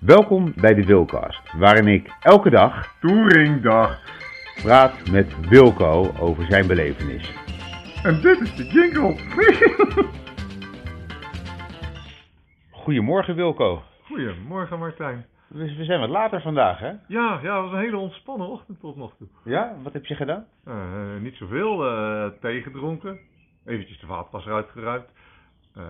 Welkom bij de Wilcast, waarin ik elke dag Touringdag. praat met Wilco over zijn belevenis. En dit is de jingle. Goedemorgen Wilco. Goedemorgen Martijn. We, we zijn wat later vandaag, hè? Ja, ja, het was een hele ontspannen ochtend tot nog toe. Ja? Wat heb je gedaan? Eh, niet zoveel. eh thee gedronken. Eventjes de vaatwasser uitgeruimd. Eh,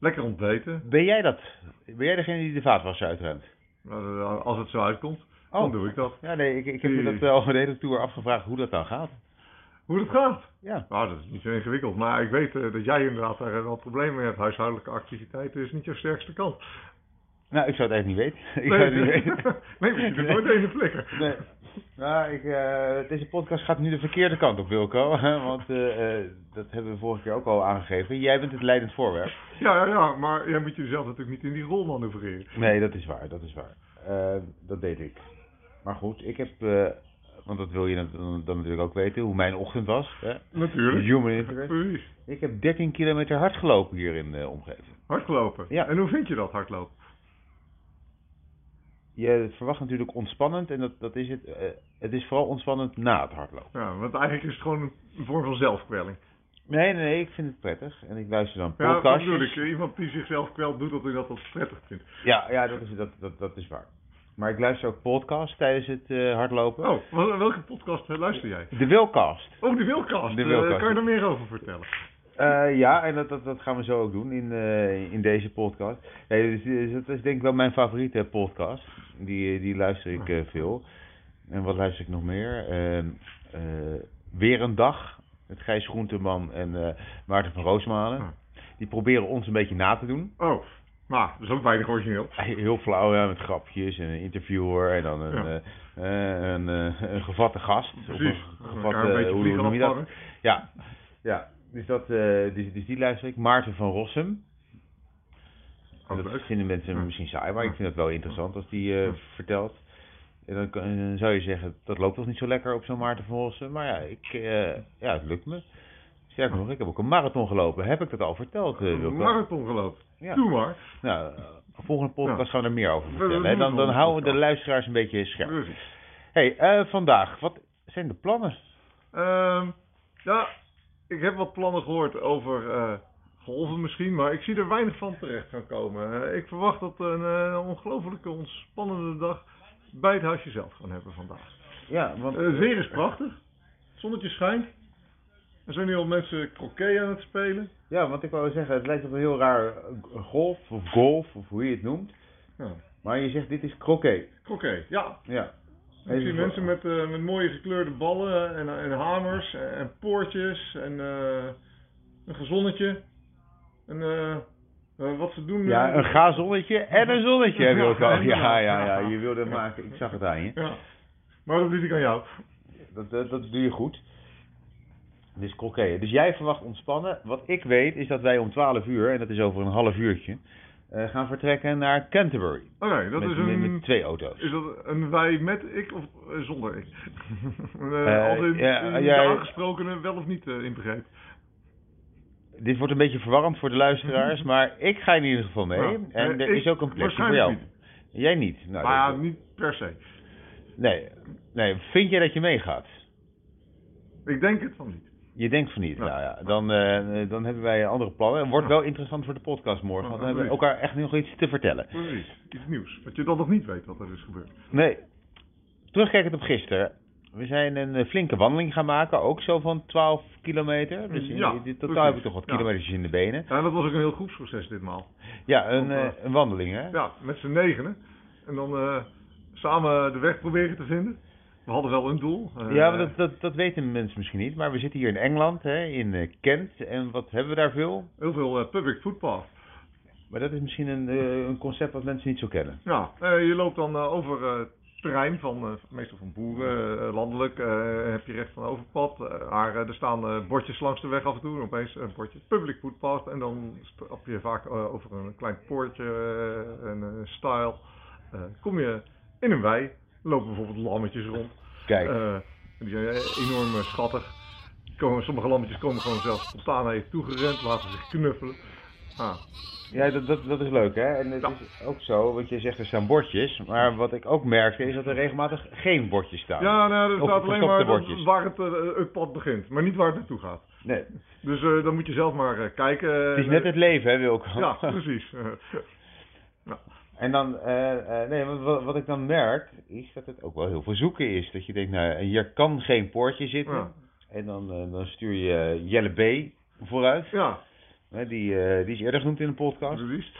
lekker ontbeten. Ben jij dat? Ben jij degene die de vaatwasser uitruimt? Eh, als het zo uitkomt, dan doe ik dat. Ja, nee, ik, ik heb me dat wel de hele tour afgevraagd hoe dat dan gaat. Hoe dat gaat? Ja. Nou, dat is niet zo ingewikkeld. Maar ik weet eh, dat jij inderdaad daar wel problemen mee hebt. Huishoudelijke activiteiten is niet jouw sterkste kant. Nou, ik zou het echt niet weten. Ik zou het niet weten. nee, want je doet nooit even flikker. Nee. Nou, ik, eh, deze podcast gaat nu de verkeerde kant op, Wilco. hè, Want eh, eh, dat hebben we vorige keer ook al aangegeven. Jij bent het leidend voorwerp. Ja, ja, ja, maar jij moet jezelf natuurlijk niet in die rol manoeuvreren. Nee, dat is waar, dat is waar. Eh, dat deed ik. Maar goed, ik heb, eh, want dat wil je dan, dan- dan natuurlijk ook weten, hoe mijn ochtend was. Hè? Natuurlijk. Human interest. Precies. Ik heb 13 kilometer hard gelopen hier in de omgeving. Hardlopen. Ja. En hoe vind je dat hardlopen? Je verwacht natuurlijk ontspannend en dat, dat is het. eh, het is vooral ontspannend na het hardlopen. Ja, want eigenlijk is het gewoon een vorm van zelfkwelling. Nee, nee, nee, ik vind het prettig. En ik luister dan Ja, dat podcasts. bedoel ik. Iemand die zichzelf kwelt, doet dat omdat dat prettig vindt. Ja, ja dat, is, dat, dat, dat is waar. Maar ik luister ook podcasts tijdens het eh, hardlopen. Oh, wel- welke podcast eh, luister jij? De Wilcast. Oh, de Wilkast. De Eh, Wilkast. kan je daar meer over vertellen? Eh, ja, en dat, dat, dat gaan we zo ook doen in, eh, in deze podcast. Nee, dus, dus dat is denk ik wel mijn favoriete podcast. Die, eh, die luister ik eh, veel. En wat luister ik nog meer? Ehm, eh, Weer een dag. Met Gijs Groenteman en eh, Maarten van Roosmalen. Die proberen ons een beetje na te doen. Oh, maar dat is ook weinig origineel. Heel flauw, ja, met grapjes en een interviewer en dan een, Ja. eh, eh, een, eh, een gevatte gast. Of een Precies. gevatte, Elkaar een beetje hoe- hoe vliegen noem je dat? afvangen. Ja, ja. Dus, dat, eh, dus, dus die luister ik. Maarten van Rossum. Ook dat Oh, leuk. vinden mensen Ja. misschien saai, maar ik vind het wel interessant als die eh, Ja. vertelt. En dan kan- eh, zou je zeggen, dat loopt toch niet zo lekker op zo'n Maarten van Rossum. Maar ja, ik, eh, ja het lukt me. Sterker nog, ik heb ook een marathon gelopen. Heb ik dat al verteld? eh, Een Wilco? marathon gelopen. Ja. Doe maar. Nou, eh, volgende podcast Ja. gaan we er meer over We- we vertellen. hè. doen Dan, het dan wel. houden we de luisteraars een beetje scherp. Precies. hey, eh, vandaag, wat zijn de plannen? Ehm, ja, ik heb wat plannen gehoord over eh golven misschien, maar ik zie er weinig van terecht gaan komen. Eh, ik verwacht dat we een eh, ongelofelijke ontspannende dag bij het huisje zelf gaan hebben vandaag. Ja, want... Eh, het weer is prachtig, het zonnetje schijnt. Er zijn nu al mensen croquet aan het spelen. Ja, want ik wou zeggen, het lijkt op een heel raar eh, golf of golf of hoe je het noemt. Ja, Maar je zegt, dit is croquet. croquet, ja. Ja. Ik zie Even- mensen met, eh, met mooie gekleurde ballen en, en hamers en, en poortjes en eh, een gezonnetje. En eh, eh, wat ze doen... Ja, eh, een gazonnetje en een zonnetje, hè, Wilco. Ja, Ja, ja, ja, ja. je wilde het maken. Ik zag het aan je. Ja, maar dat liet ik aan jou. Dat, dat, dat doe je goed. Dit is croquet. Dus jij verwacht ontspannen. Wat ik weet is dat wij om 12 uur, en dat is over een half uurtje, eh, gaan vertrekken naar Canterbury. Oké, Oh dat met, is met- een... met twee auto's. Is dat een wij met ik of eh, zonder ik? Eh Eh, als in, ja, in jij- de aangesprokene wel of niet in inbegrepen. Dit wordt een beetje verwarrend voor de luisteraars, maar ik ga in ieder geval mee. Ja. en Eh, er ik is ook een plekje voor jou. waarschijnlijk Jij niet. Nou, maar dat- niet per se. nee. nee, vind jij dat je meegaat? Ik denk het van niet. Je denkt van niet. Ja. Nou ja, dan, eh, dan hebben wij andere plannen. Het wordt wel interessant voor de podcast morgen, want dan hebben we elkaar echt nog iets te vertellen. Precies. Iets nieuws. Wat je dan nog niet weet wat er is gebeurd. Nee. Terugkijkend op gisteren. We zijn een eh, flinke wandeling gaan maken, ook zo van 12 kilometer. Dus in, Mm, Ja, in totaal precies. heb ik toch wat Ja. kilometers in de benen. Ja, en dat was ook een heel groepsproces ditmaal. Ja, een, Want, eh, een wandeling hè? Ja, met z'n negenen. En dan eh, samen de weg proberen te vinden. We hadden wel een doel. eh, Ja, maar dat, dat, dat weten mensen misschien niet. Maar we zitten hier in Engeland, hè, in eh, Kent. En wat hebben we daar veel? Heel veel eh, public footpath. Maar dat is misschien een, eh, een concept wat mensen niet zo kennen. Ja, eh, je loopt dan eh, over eh, terrein van eh, meestal van boeren, eh, landelijk, eh, heb je recht van overpad. eh, maar eh, er staan eh, bordjes langs de weg af en toe, en opeens een bordje public footpath en dan stap je vaak eh, over een klein poortje, eh, een eh, stijl. Eh, kom je in een wei, lopen bijvoorbeeld lammetjes rond. Kijk, Eh, die zijn eh, enorm eh, schattig. Komen, sommige lammetjes komen gewoon zelfs spontaan naar je toegerend, laten zich knuffelen. Ah. Ja, dat, dat, dat is leuk hè. En het Ja. is ook zo, want je zegt er staan bordjes. Maar wat ik ook merkte is dat er regelmatig geen bordjes staan. Ja, nou, er Of staat alleen verstopte maar bordjes. waar het, eh, het pad begint, maar niet waar het naartoe gaat. Nee, Dus eh, dan moet je zelf maar eh, kijken. het is net het leven hè Wilco. Ja, precies. Eh, En dan, eh, eh, nee, wat, wat, wat ik dan merk, is dat het ook wel heel veel zoeken is. Dat je denkt, nou, hier kan geen poortje zitten. Ja. En dan, eh, dan stuur je Jelle B. vooruit. ja, Hè, die, eh, die is eerder genoemd in de podcast. precies.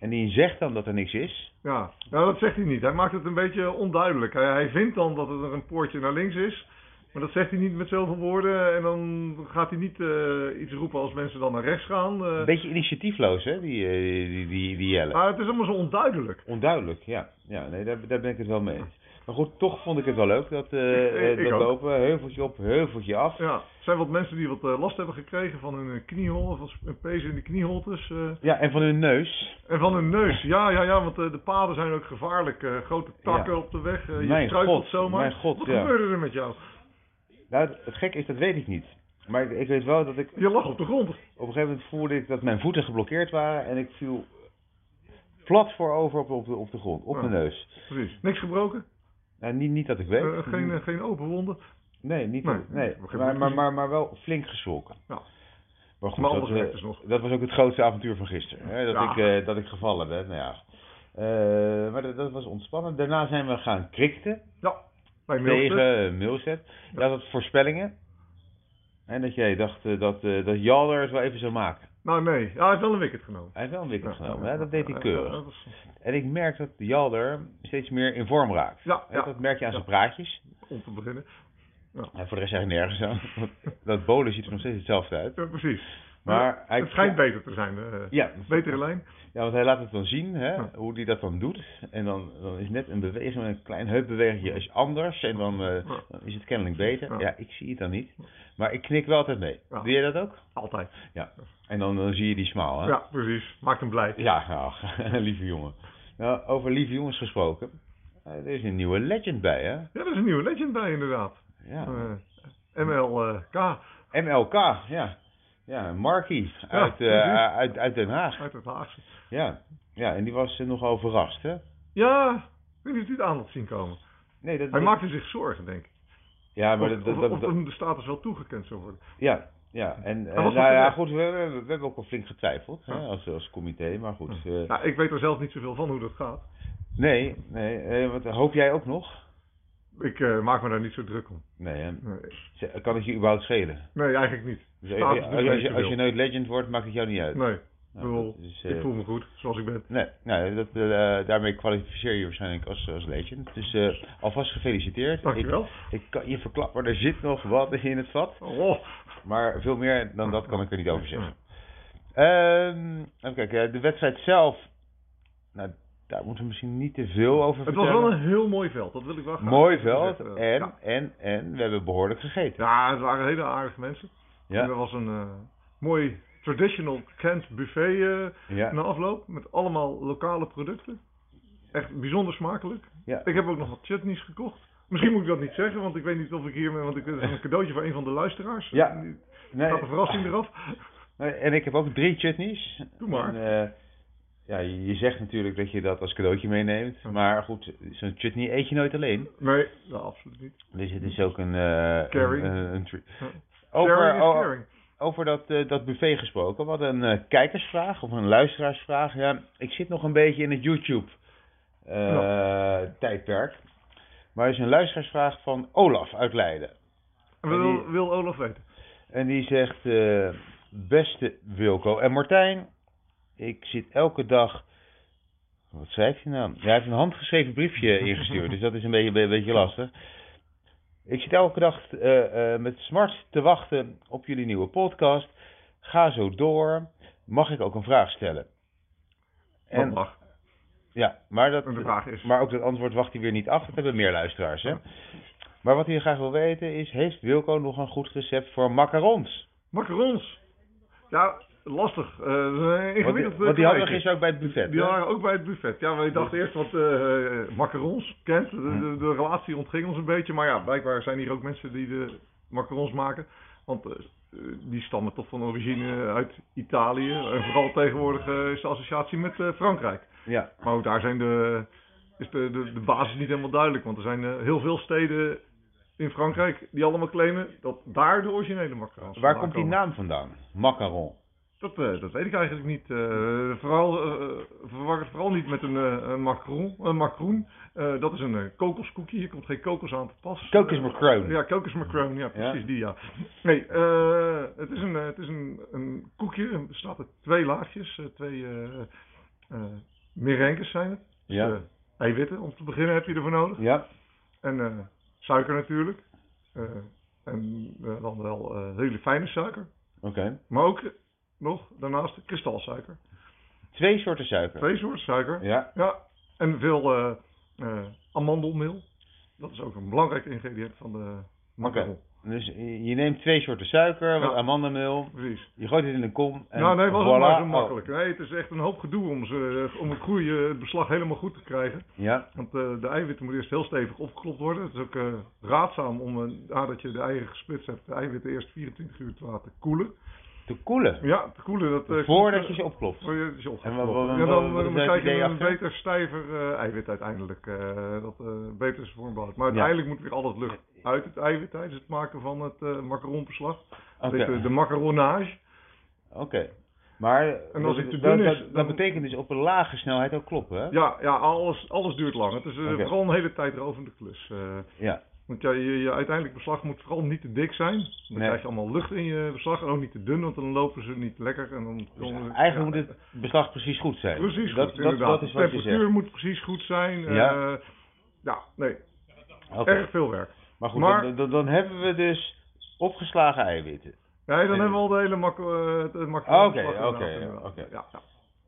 En die zegt dan dat er niks is. Ja, nou dat zegt hij niet. Hij maakt het een beetje onduidelijk. Hij, hij vindt dan dat het er een poortje naar links is, maar dat zegt hij niet met zoveel woorden. En dan gaat hij niet eh, iets roepen als mensen dan naar rechts gaan. eh. Een beetje initiatiefloos, hè, die, eh, die, die, die Jelle. maar het is allemaal zo onduidelijk. Onduidelijk, ja. Ja, nee, daar, daar ben ik het wel mee eens. Maar goed, toch vond ik het wel leuk dat, eh, Ik- ik- eh, ik dat ook. lopen. Heuveltje op, heuveltje af. Ja, er zijn wat mensen die wat eh, last hebben gekregen van hun kniehol, van sp- pezen in de knieholtes. eh. Ja, en van hun neus. En van hun neus, ja, ja, ja, want eh, de paden zijn ook gevaarlijk. eh, grote takken Ja. op de weg, eh, je Mijn struikelt god, zomaar. mijn god, Wat ja. gebeurde er met jou? Nou, het, het gekke is, dat weet ik niet. Maar ik, ik weet wel dat ik Je lag op de grond. Op een gegeven moment voelde ik dat mijn voeten geblokkeerd waren en ik viel plat voorover op, op, de, op de grond, op Ja. mijn neus. Precies. Niks gebroken, Nou, niet, niet dat ik weet. eh, geen, eh, geen open wonden. nee, niet nee, dat- nee. geen Maar, maar, bloedverlies. maar, maar wel flink geschrokken. Ja. Maar goed, Maar dat, alles eh, werkt dus nog. dat was ook het grootste avontuur van gisteren. Hè? Dat, Ja. ik, eh, dat ik gevallen ben. Nou ja. Eh, maar dat, dat was ontspannen. Daarna zijn we gaan krikten Bij Milton. tegen Milset. Ja, dat was voorspellingen. En dat jij dacht eh, dat, eh dat Jalder het wel even zou maken. Nou nee, ja, hij heeft wel een wicket genomen. Hij heeft wel een wicket Ja, genomen. ja, hè? Dat deed ja, hij ja, keurig. dat was- En ik merk dat Jalder steeds meer in vorm raakt. Ja, Hè, ja, Dat merk je aan zijn praatjes. om te beginnen. En voor de rest eigenlijk nergens aan. Want dat bolen ziet er nog steeds hetzelfde uit. Ja, Eh, precies. Maar hij... het schijnt beter te zijn. eh, Ja, Betere lijn. ja, want hij laat het dan zien, hè, Ja. hoe hij dat dan doet. En dan, dan is net een beweging, een klein heupbeweging is anders. En dan, eh, Ja. dan is het kennelijk beter. Ja. Ja. ik zie het dan niet. Maar ik knik wel altijd mee. Ja. Doe jij dat ook? Altijd. En dan, dan zie je die smaal, hè? Ja, precies. Maakt hem blij. Ja, nou, lieve jongen. Nou, over lieve jongens gesproken. Eh, Er is een nieuwe legend bij, hè? Ja, er is een nieuwe legend bij inderdaad. Ja. Eh, MLK MLK, ja. Ja, Markie uit, eh, precies. uit, uit Den Haag. uit het Haagse. Ja. ja, en die was eh, nogal verrast, hè? Ja, ik weet niet of hij het aan had zien komen. Nee, dat, Hij dat- maakte zich zorgen, denk ik. Ja, maar of, dat, dat, of- dat- of Ah, dat- hem de status wel toegekend zou worden. ja, ja. En eh, was nou wel ja, terecht. goed, we, we, we hebben ook al flink getwijfeld hè, Ja. als, als comité, maar goed. eh, Nou, ik weet er zelf niet zoveel van hoe dat gaat. nee, nee, eh, wat, hoop jij ook nog? Ik eh, maak me daar niet zo druk om. Nee, hè. Nee, Z- kan het je überhaupt schelen? nee, eigenlijk niet. Dus, eh, Status als, doet mij als niet je, als je zoveel. nooit legend wordt, maakt het jou niet uit. Nee, Nou, dat bedoel, is, ik eh, voel me goed, zoals ik ben. Nee, nou, dat, eh, daarmee kwalificeer je je waarschijnlijk als, als legend. Dus eh, alvast gefeliciteerd. Ik- Dankjewel. Ik kan je verklappen, er zit nog wat in het vat. Oh, Maar veel meer dan dat kan ik er niet over zeggen. Ehm, even kijken, eh, de wedstrijd zelf. Nou, daar moeten we misschien niet te veel over het was vertellen. wel een heel mooi veld, dat wil ik wel graag Mooi zeggen. veld. Eh, En, Ja, en, en, we hebben behoorlijk gegeten. Ja, het waren hele aardige mensen. En er Ja, was een eh, mooi traditional Kent buffet eh, ja. na afloop met allemaal lokale producten. Echt bijzonder smakelijk. Ja. Ik heb ook nog wat chutneys gekocht. Misschien moet ik dat niet zeggen, want ik weet niet of ik hiermee... Want ik, het is een cadeautje voor een van de luisteraars. Ja. Die- Nee, Ah, Gaat de verrassing eraf? nee, en ik heb ook drie chutneys. Doe maar. En, eh, ja, je je zegt natuurlijk dat je dat als cadeautje meeneemt. Maar goed, zo'n chutney eet je nooit alleen. Nee, nou, absoluut niet. Dus het is ook een... eh Caring. Een, een- een tri- Ja. over, oh, Sharing is o- caring. over dat, eh, dat buffet gesproken. We hadden een eh, kijkersvraag of een luisteraarsvraag. Ja, ik zit nog een beetje in het YouTube-tijdperk. maar er is een luisteraarsvraag van Olaf uit Leiden. En en wil, die- wil Olaf weten? En die zegt: eh, Beste Wilco en Martijn, ik zit elke dag. Wat schrijft hij nou? Ja, hij heeft een handgeschreven briefje ingestuurd, dus dat is een beetje, een beetje lastig. Ik zit elke dag eh, eh, met smart te wachten op jullie nieuwe podcast. Ga zo door. Mag ik ook een vraag stellen? Dat En, mag. ja, maar, dat, En de vraag is... maar ook dat antwoord wacht hij weer niet af. Dat hebben meer luisteraars. Hè? Maar wat hij graag wil weten is: Heeft Wilco nog een goed recept voor macarons? Macarons! Ja, lastig. Eh, dat is een Want die, ingewikkeld eh, want die hadden we gerechtje. gisteren ook bij het buffet. Die hè? waren ook bij het buffet. Ja, wij dachten eerst wat eh, macarons kent. De, de, de relatie ontging ons een beetje. Maar ja, blijkbaar zijn hier ook mensen die de macarons maken. Want eh, eh, die stammen toch van origine uit Italië. En vooral tegenwoordig eh, is de associatie met eh, Frankrijk. Ja, Maar ook daar zijn de, is de, de, de basis niet helemaal duidelijk. Want er zijn eh, heel veel steden in Frankrijk die allemaal claimen dat daar de originele macarons waar vandaan komt die komen. naam vandaan? Macaron. Dat, eh, dat weet ik eigenlijk niet. Eh, vooral, eh, verwar het vooral niet met een, eh, een macaron. Een macaron. Eh, dat is een eh, kokoskoekje. Hier komt geen kokos aan te pas. Kokos Eh, macaron. ja, kokos macaron. Ja, Ja. precies die ja. Nee, eh, het is een, eh, het is een, een koekje. Er staat uit twee laagjes. eh, twee eh eh, merengues zijn het. Dus, Ja. eh, eiwitten om te beginnen heb je ervoor nodig. Ja, En eh, suiker natuurlijk. Eh, en eh, dan wel eh, hele fijne suiker. oké. Maar ook eh, nog daarnaast kristalsuiker. Twee soorten suiker. Twee soorten suiker. Ja. Ja, En veel eh, eh, amandelmeel. Dat is ook een belangrijk ingrediënt van de macaron. dus je je neemt twee soorten suiker, wat Ja. amandelmeel, Precies. je gooit het in een kom en nou, nee, was het voilà. maar zo Oh, makkelijk. Nee, het is echt een hoop gedoe om, ze, om het groeien, het beslag helemaal goed te krijgen. Oh, Ja, Want eh, de eiwitten moeten eerst heel stevig opgeklopt worden. Het is ook eh, raadzaam om, eh, nadat je de eieren gesplitst hebt, de eiwitten eerst 24 uur te laten koelen. te koelen. Ja, te koelen. Dat, eh, Voordat komt, je eh, ze opklopt. Voordat je ze En wat- opgeklopt. wat- Ja, wat- dan, wat dan is daar het krijg je idee een achter? beter stijver eh, eiwit uiteindelijk. eh, dat eh beter is vormbouwt. Maar Ja. uiteindelijk moet weer al dat lucht uit het eiwit tijdens het maken van het eh macaronbeslag. Dat heet, Oké. eh, de macaronage. Oké. Maar En als dat- hij te dat, dun is, dat- dat dan- betekent dus op een lage snelheid ook kloppen, hè? Ja, ja alles, alles duurt lang. Het is eh, Oké. vooral een hele tijdrovende klus. eh. Ja. want ja, je, je uiteindelijk beslag moet vooral niet te dik zijn. Dan Nee. krijg je allemaal lucht in je beslag. En ook niet te dun, want dan lopen ze niet lekker. En dan, Dus dan- eigenlijk ja. eh, moet het beslag precies goed zijn. Precies dat, goed, dat, inderdaad. dat is wat de je temperatuur zegt. moet precies goed zijn. Ja. Ja, ja nee, Oké. erg veel werk. Maar goed, maar- Dan, dan, dan hebben we dus opgeslagen eiwitten. Nee, dan En- hebben we al de hele makkel. het het mak- Oké, slag inderdaad, oké, inderdaad. oké. Ja, ja.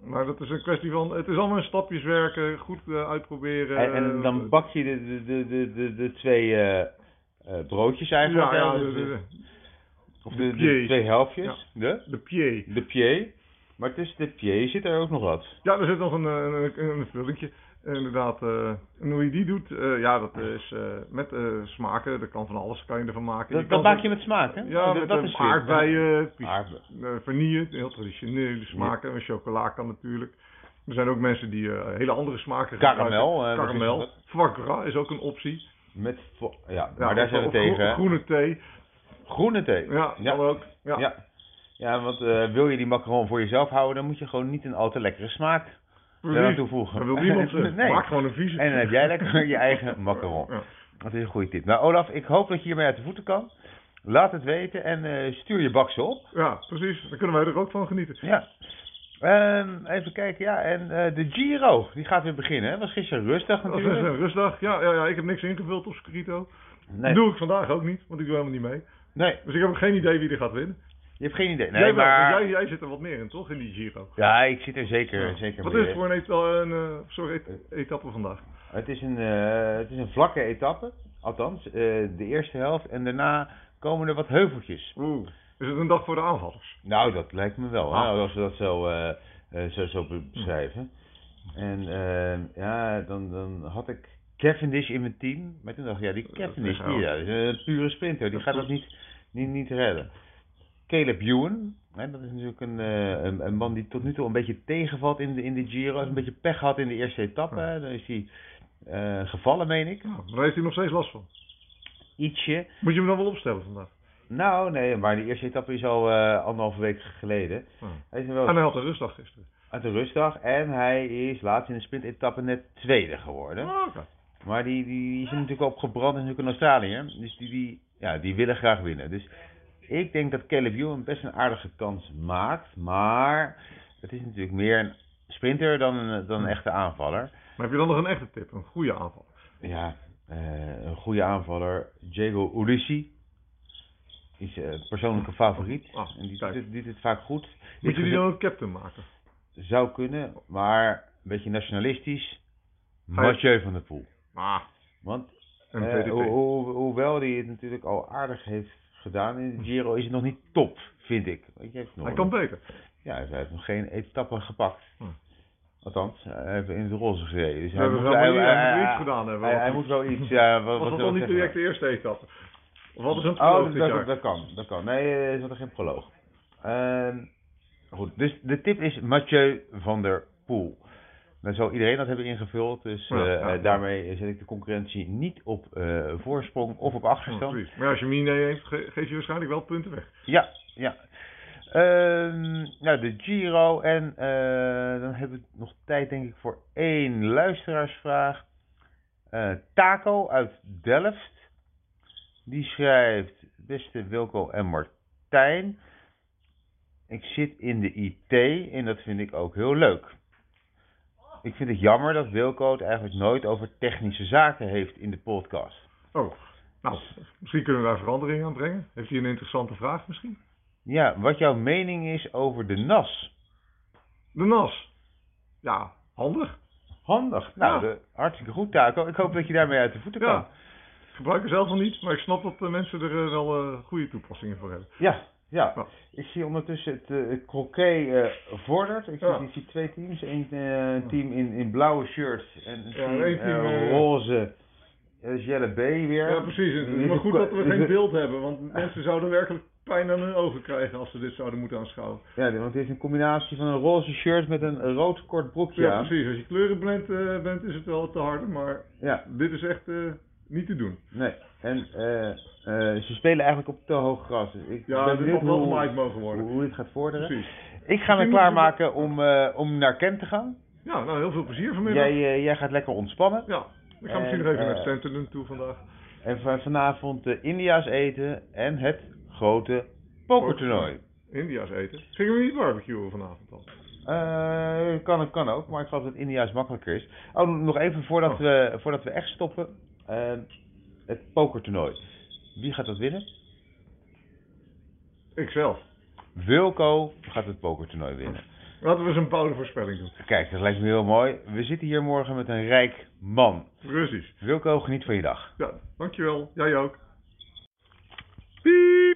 Maar dat is een kwestie van, het is allemaal in stapjes werken, goed eh, uitproberen. en, en dan eh, bak je de, de, de, de, de, de twee eh, eh, broodjes eigenlijk. ja, hè? ja, Dus de, de- de, Of De de, de pieds. twee helftjes, de, de pied. de pied. Maar tussen de pied zit er ook nog wat. Ja, er zit nog een, eh, een, een, een vullingje. Inderdaad, eh, en hoe je die doet, eh, ja, dat is eh, met eh, smaken, dat kan van alles, kan je ervan maken. Dat, dat maak je met smaak, hè? Ja, dat, met dat eh, is weer- aardbeien, pis- Aardbeien. eh, vanille, heel traditionele smaken. En chocola kan natuurlijk. Er zijn ook mensen die eh, hele andere smaken Karamel, eh, gebruiken. wat Karamel. Foie gras is ook een optie. Met vo- ja, Ja, maar daar of- zijn we of groe- tegen. hè? groene thee. Groene thee. Ja, Ja. kan ook. Ja. Ja. Ja, want eh, wil je die macaron voor jezelf houden, dan moet je gewoon niet een al te lekkere smaak eraan precies. toevoegen. Dat wil niemand eh, nee. Maak gewoon een vieze. En dan heb jij lekker je eigen macaron. Ja. Dat is een goede tip. Nou, Olaf, ik hoop dat je hiermee uit de voeten kan. Laat het weten en eh, stuur je bakse op. Ja, precies. Dan kunnen wij er ook van genieten. Ja. Ehm, even kijken, ja. En eh, de Giro, die gaat weer beginnen. hè. was gisteren rustig Dat is natuurlijk. een rustdag. Ja, ja, ja, ik heb niks ingevuld op Scrito. Nee, Dat doe ik vandaag ook niet, want ik doe helemaal niet mee. nee, Dus ik heb ook geen idee wie er gaat winnen. je hebt geen idee. jij, Nee, wel, maar... want jij, jij zit er wat meer in, toch? In die Giro. Ja, ik zit er zeker, zeker Wat mee. is het voor een, et- een eh, sorry, et- etappe vandaag? Het is een, eh, het is een vlakke etappe, althans, eh, de eerste helft. En daarna komen er wat heuveltjes. Oeh. Is het een dag voor de aanvallers? Nou, dat lijkt me wel, hè, Ah. als we dat zo, eh, eh, zo, zo be- beschrijven. En eh, ja, dan, dan had ik Cavendish in mijn team. Maar toen dacht ik, ja, die Cavendish, die ja, is een pure sprinter. Die gaat dat niet, niet, niet redden. Caleb Ewan, hè, dat is natuurlijk een, eh, een, een man die tot nu toe een beetje tegenvalt in de, in de Giro. Een beetje pech had in de eerste etappe. hè. Dan is hij eh, gevallen, meen ik. Ja, maar daar heeft hij nog steeds last van. Ietsje. Moet je hem dan wel opstellen vandaag? Nou, nee, maar die eerste etappe is al eh anderhalve week geleden. Ja. Hij is er wel En hij had een rustdag gisteren. uit de rustdag en hij is laatst in de sprintetappe net tweede geworden. Ah, oké. Maar die, die, die is er natuurlijk opgebrand, is natuurlijk een Australiër. Dus die, die, ja, die willen graag winnen. Dus ik denk dat Caleb Ewan best een aardige kans maakt. Maar het is natuurlijk meer een sprinter dan een, dan een echte aanvaller. Maar heb je dan nog een echte tip? Een goede aanval? Ja, eh, een goede aanvaller. Diego Ulissi is eh, een persoonlijke favoriet. Ah, en die doet, kijk. het, die doet het vaak goed. Moet Dit je die gezin dan ook captain maken? Zou kunnen, maar een beetje nationalistisch. Ga je- Mathieu van der Poel. Ah, Want en eh, VDP. ho- ho- hoewel hij het natuurlijk al aardig heeft gedaan in de Giro, is het nog niet top, vind ik. Want je hebt nog Hij kan beter. Ja, dus hij heeft nog geen etappe gepakt. Hm. Althans, hij heeft in de roze gereden. Dus We hij hebben moet, wel hij, iets hij- gedaan hebben. hij- hij moet wel iets. ja, wat, Was wat dat wil ik dan niet zeggen? direct de eerste etappe? Wat is een proloog Oh, dit dat, jaar? dat, dat kan, dat kan. Nee, eh, er zat er geen proloog. Ehm, goed, dus de tip is Mathieu van der Poel. Dan zal iedereen dat hebben ingevuld, dus Ja, eh, ja, eh, ja. daarmee zet ik de concurrentie niet op eh, voorsprong of op Oh, achterstand. precies. maar als je Mine heeft, ge- geef je waarschijnlijk wel punten weg. Ja, ja. Ehm, nou, de Giro. En eh, dan hebben we nog tijd, denk ik, voor één luisteraarsvraag. Eh, Taco uit Delft. Die schrijft: Beste Wilco en Martijn. Ik zit in de IT en dat vind ik ook heel leuk. Ik vind het jammer dat Wilco het eigenlijk nooit over technische zaken heeft in de podcast. Oh, nou, misschien kunnen we daar verandering aan brengen. Heeft hij een interessante vraag misschien? Ja, wat jouw mening is over de NAS? De NAS. Ja, handig. Handig. Nou, Ja. de, hartstikke goed, Taco. Ik hoop dat je daarmee uit de voeten Ja. kan. Ja, Ik gebruik er zelf nog niet, maar ik snap dat de mensen er eh, wel eh, goede toepassingen voor hebben. ja. Ja. Ik zie ondertussen het, eh, het croquet eh, vordert. Ik zie, Ja. ik zie twee teams. Eén eh, team in, in blauwe shirts en een Ja, team, één eh, team, eh, roze. Dat is Jelle B weer. Ja, precies. Het Die is maar zit- goed dat we die geen zit- beeld hebben, want mensen zouden werkelijk pijn aan hun ogen krijgen als ze dit zouden moeten aanschouwen. Ja, want het is een combinatie van een roze shirt met een rood kort broekje Ja, aan. precies. Als je kleurenblind eh, bent, is het wel te harde, maar Ja, dit is echt eh, niet te doen. nee. En eh, eh, ze spelen eigenlijk op te hoog gras. Dus ik Ja, ben dit benieuwd had wel hoe, gemaaid mogen worden. hoe dit gaat vorderen. Precies. Ik ga me Misschien moeten we- klaarmaken om, eh, om naar Kent te gaan. Ja, nou heel veel plezier vanmiddag. Jij, eh, jij gaat lekker ontspannen. Ja, ik ga En, misschien nog even naar eh, Centrum toe vandaag. En va- vanavond de India's eten en het grote pokertoernooi. India's eten. Gingen we niet barbecuen vanavond dan? Eh kan, kan ook, maar ik geloof dat India's makkelijker is. Oh, nog even voordat, Oh. we, voordat we echt stoppen. eh, het pokertoernooi. Wie gaat dat winnen? Ikzelf. Wilco gaat het pokertoernooi winnen. Laten we eens een bouwde voorspelling doen. Kijk, dat lijkt me heel mooi. We zitten hier morgen met een rijk man. Precies. Wilco, geniet van je dag. Ja, dankjewel. Jij ook. Piep.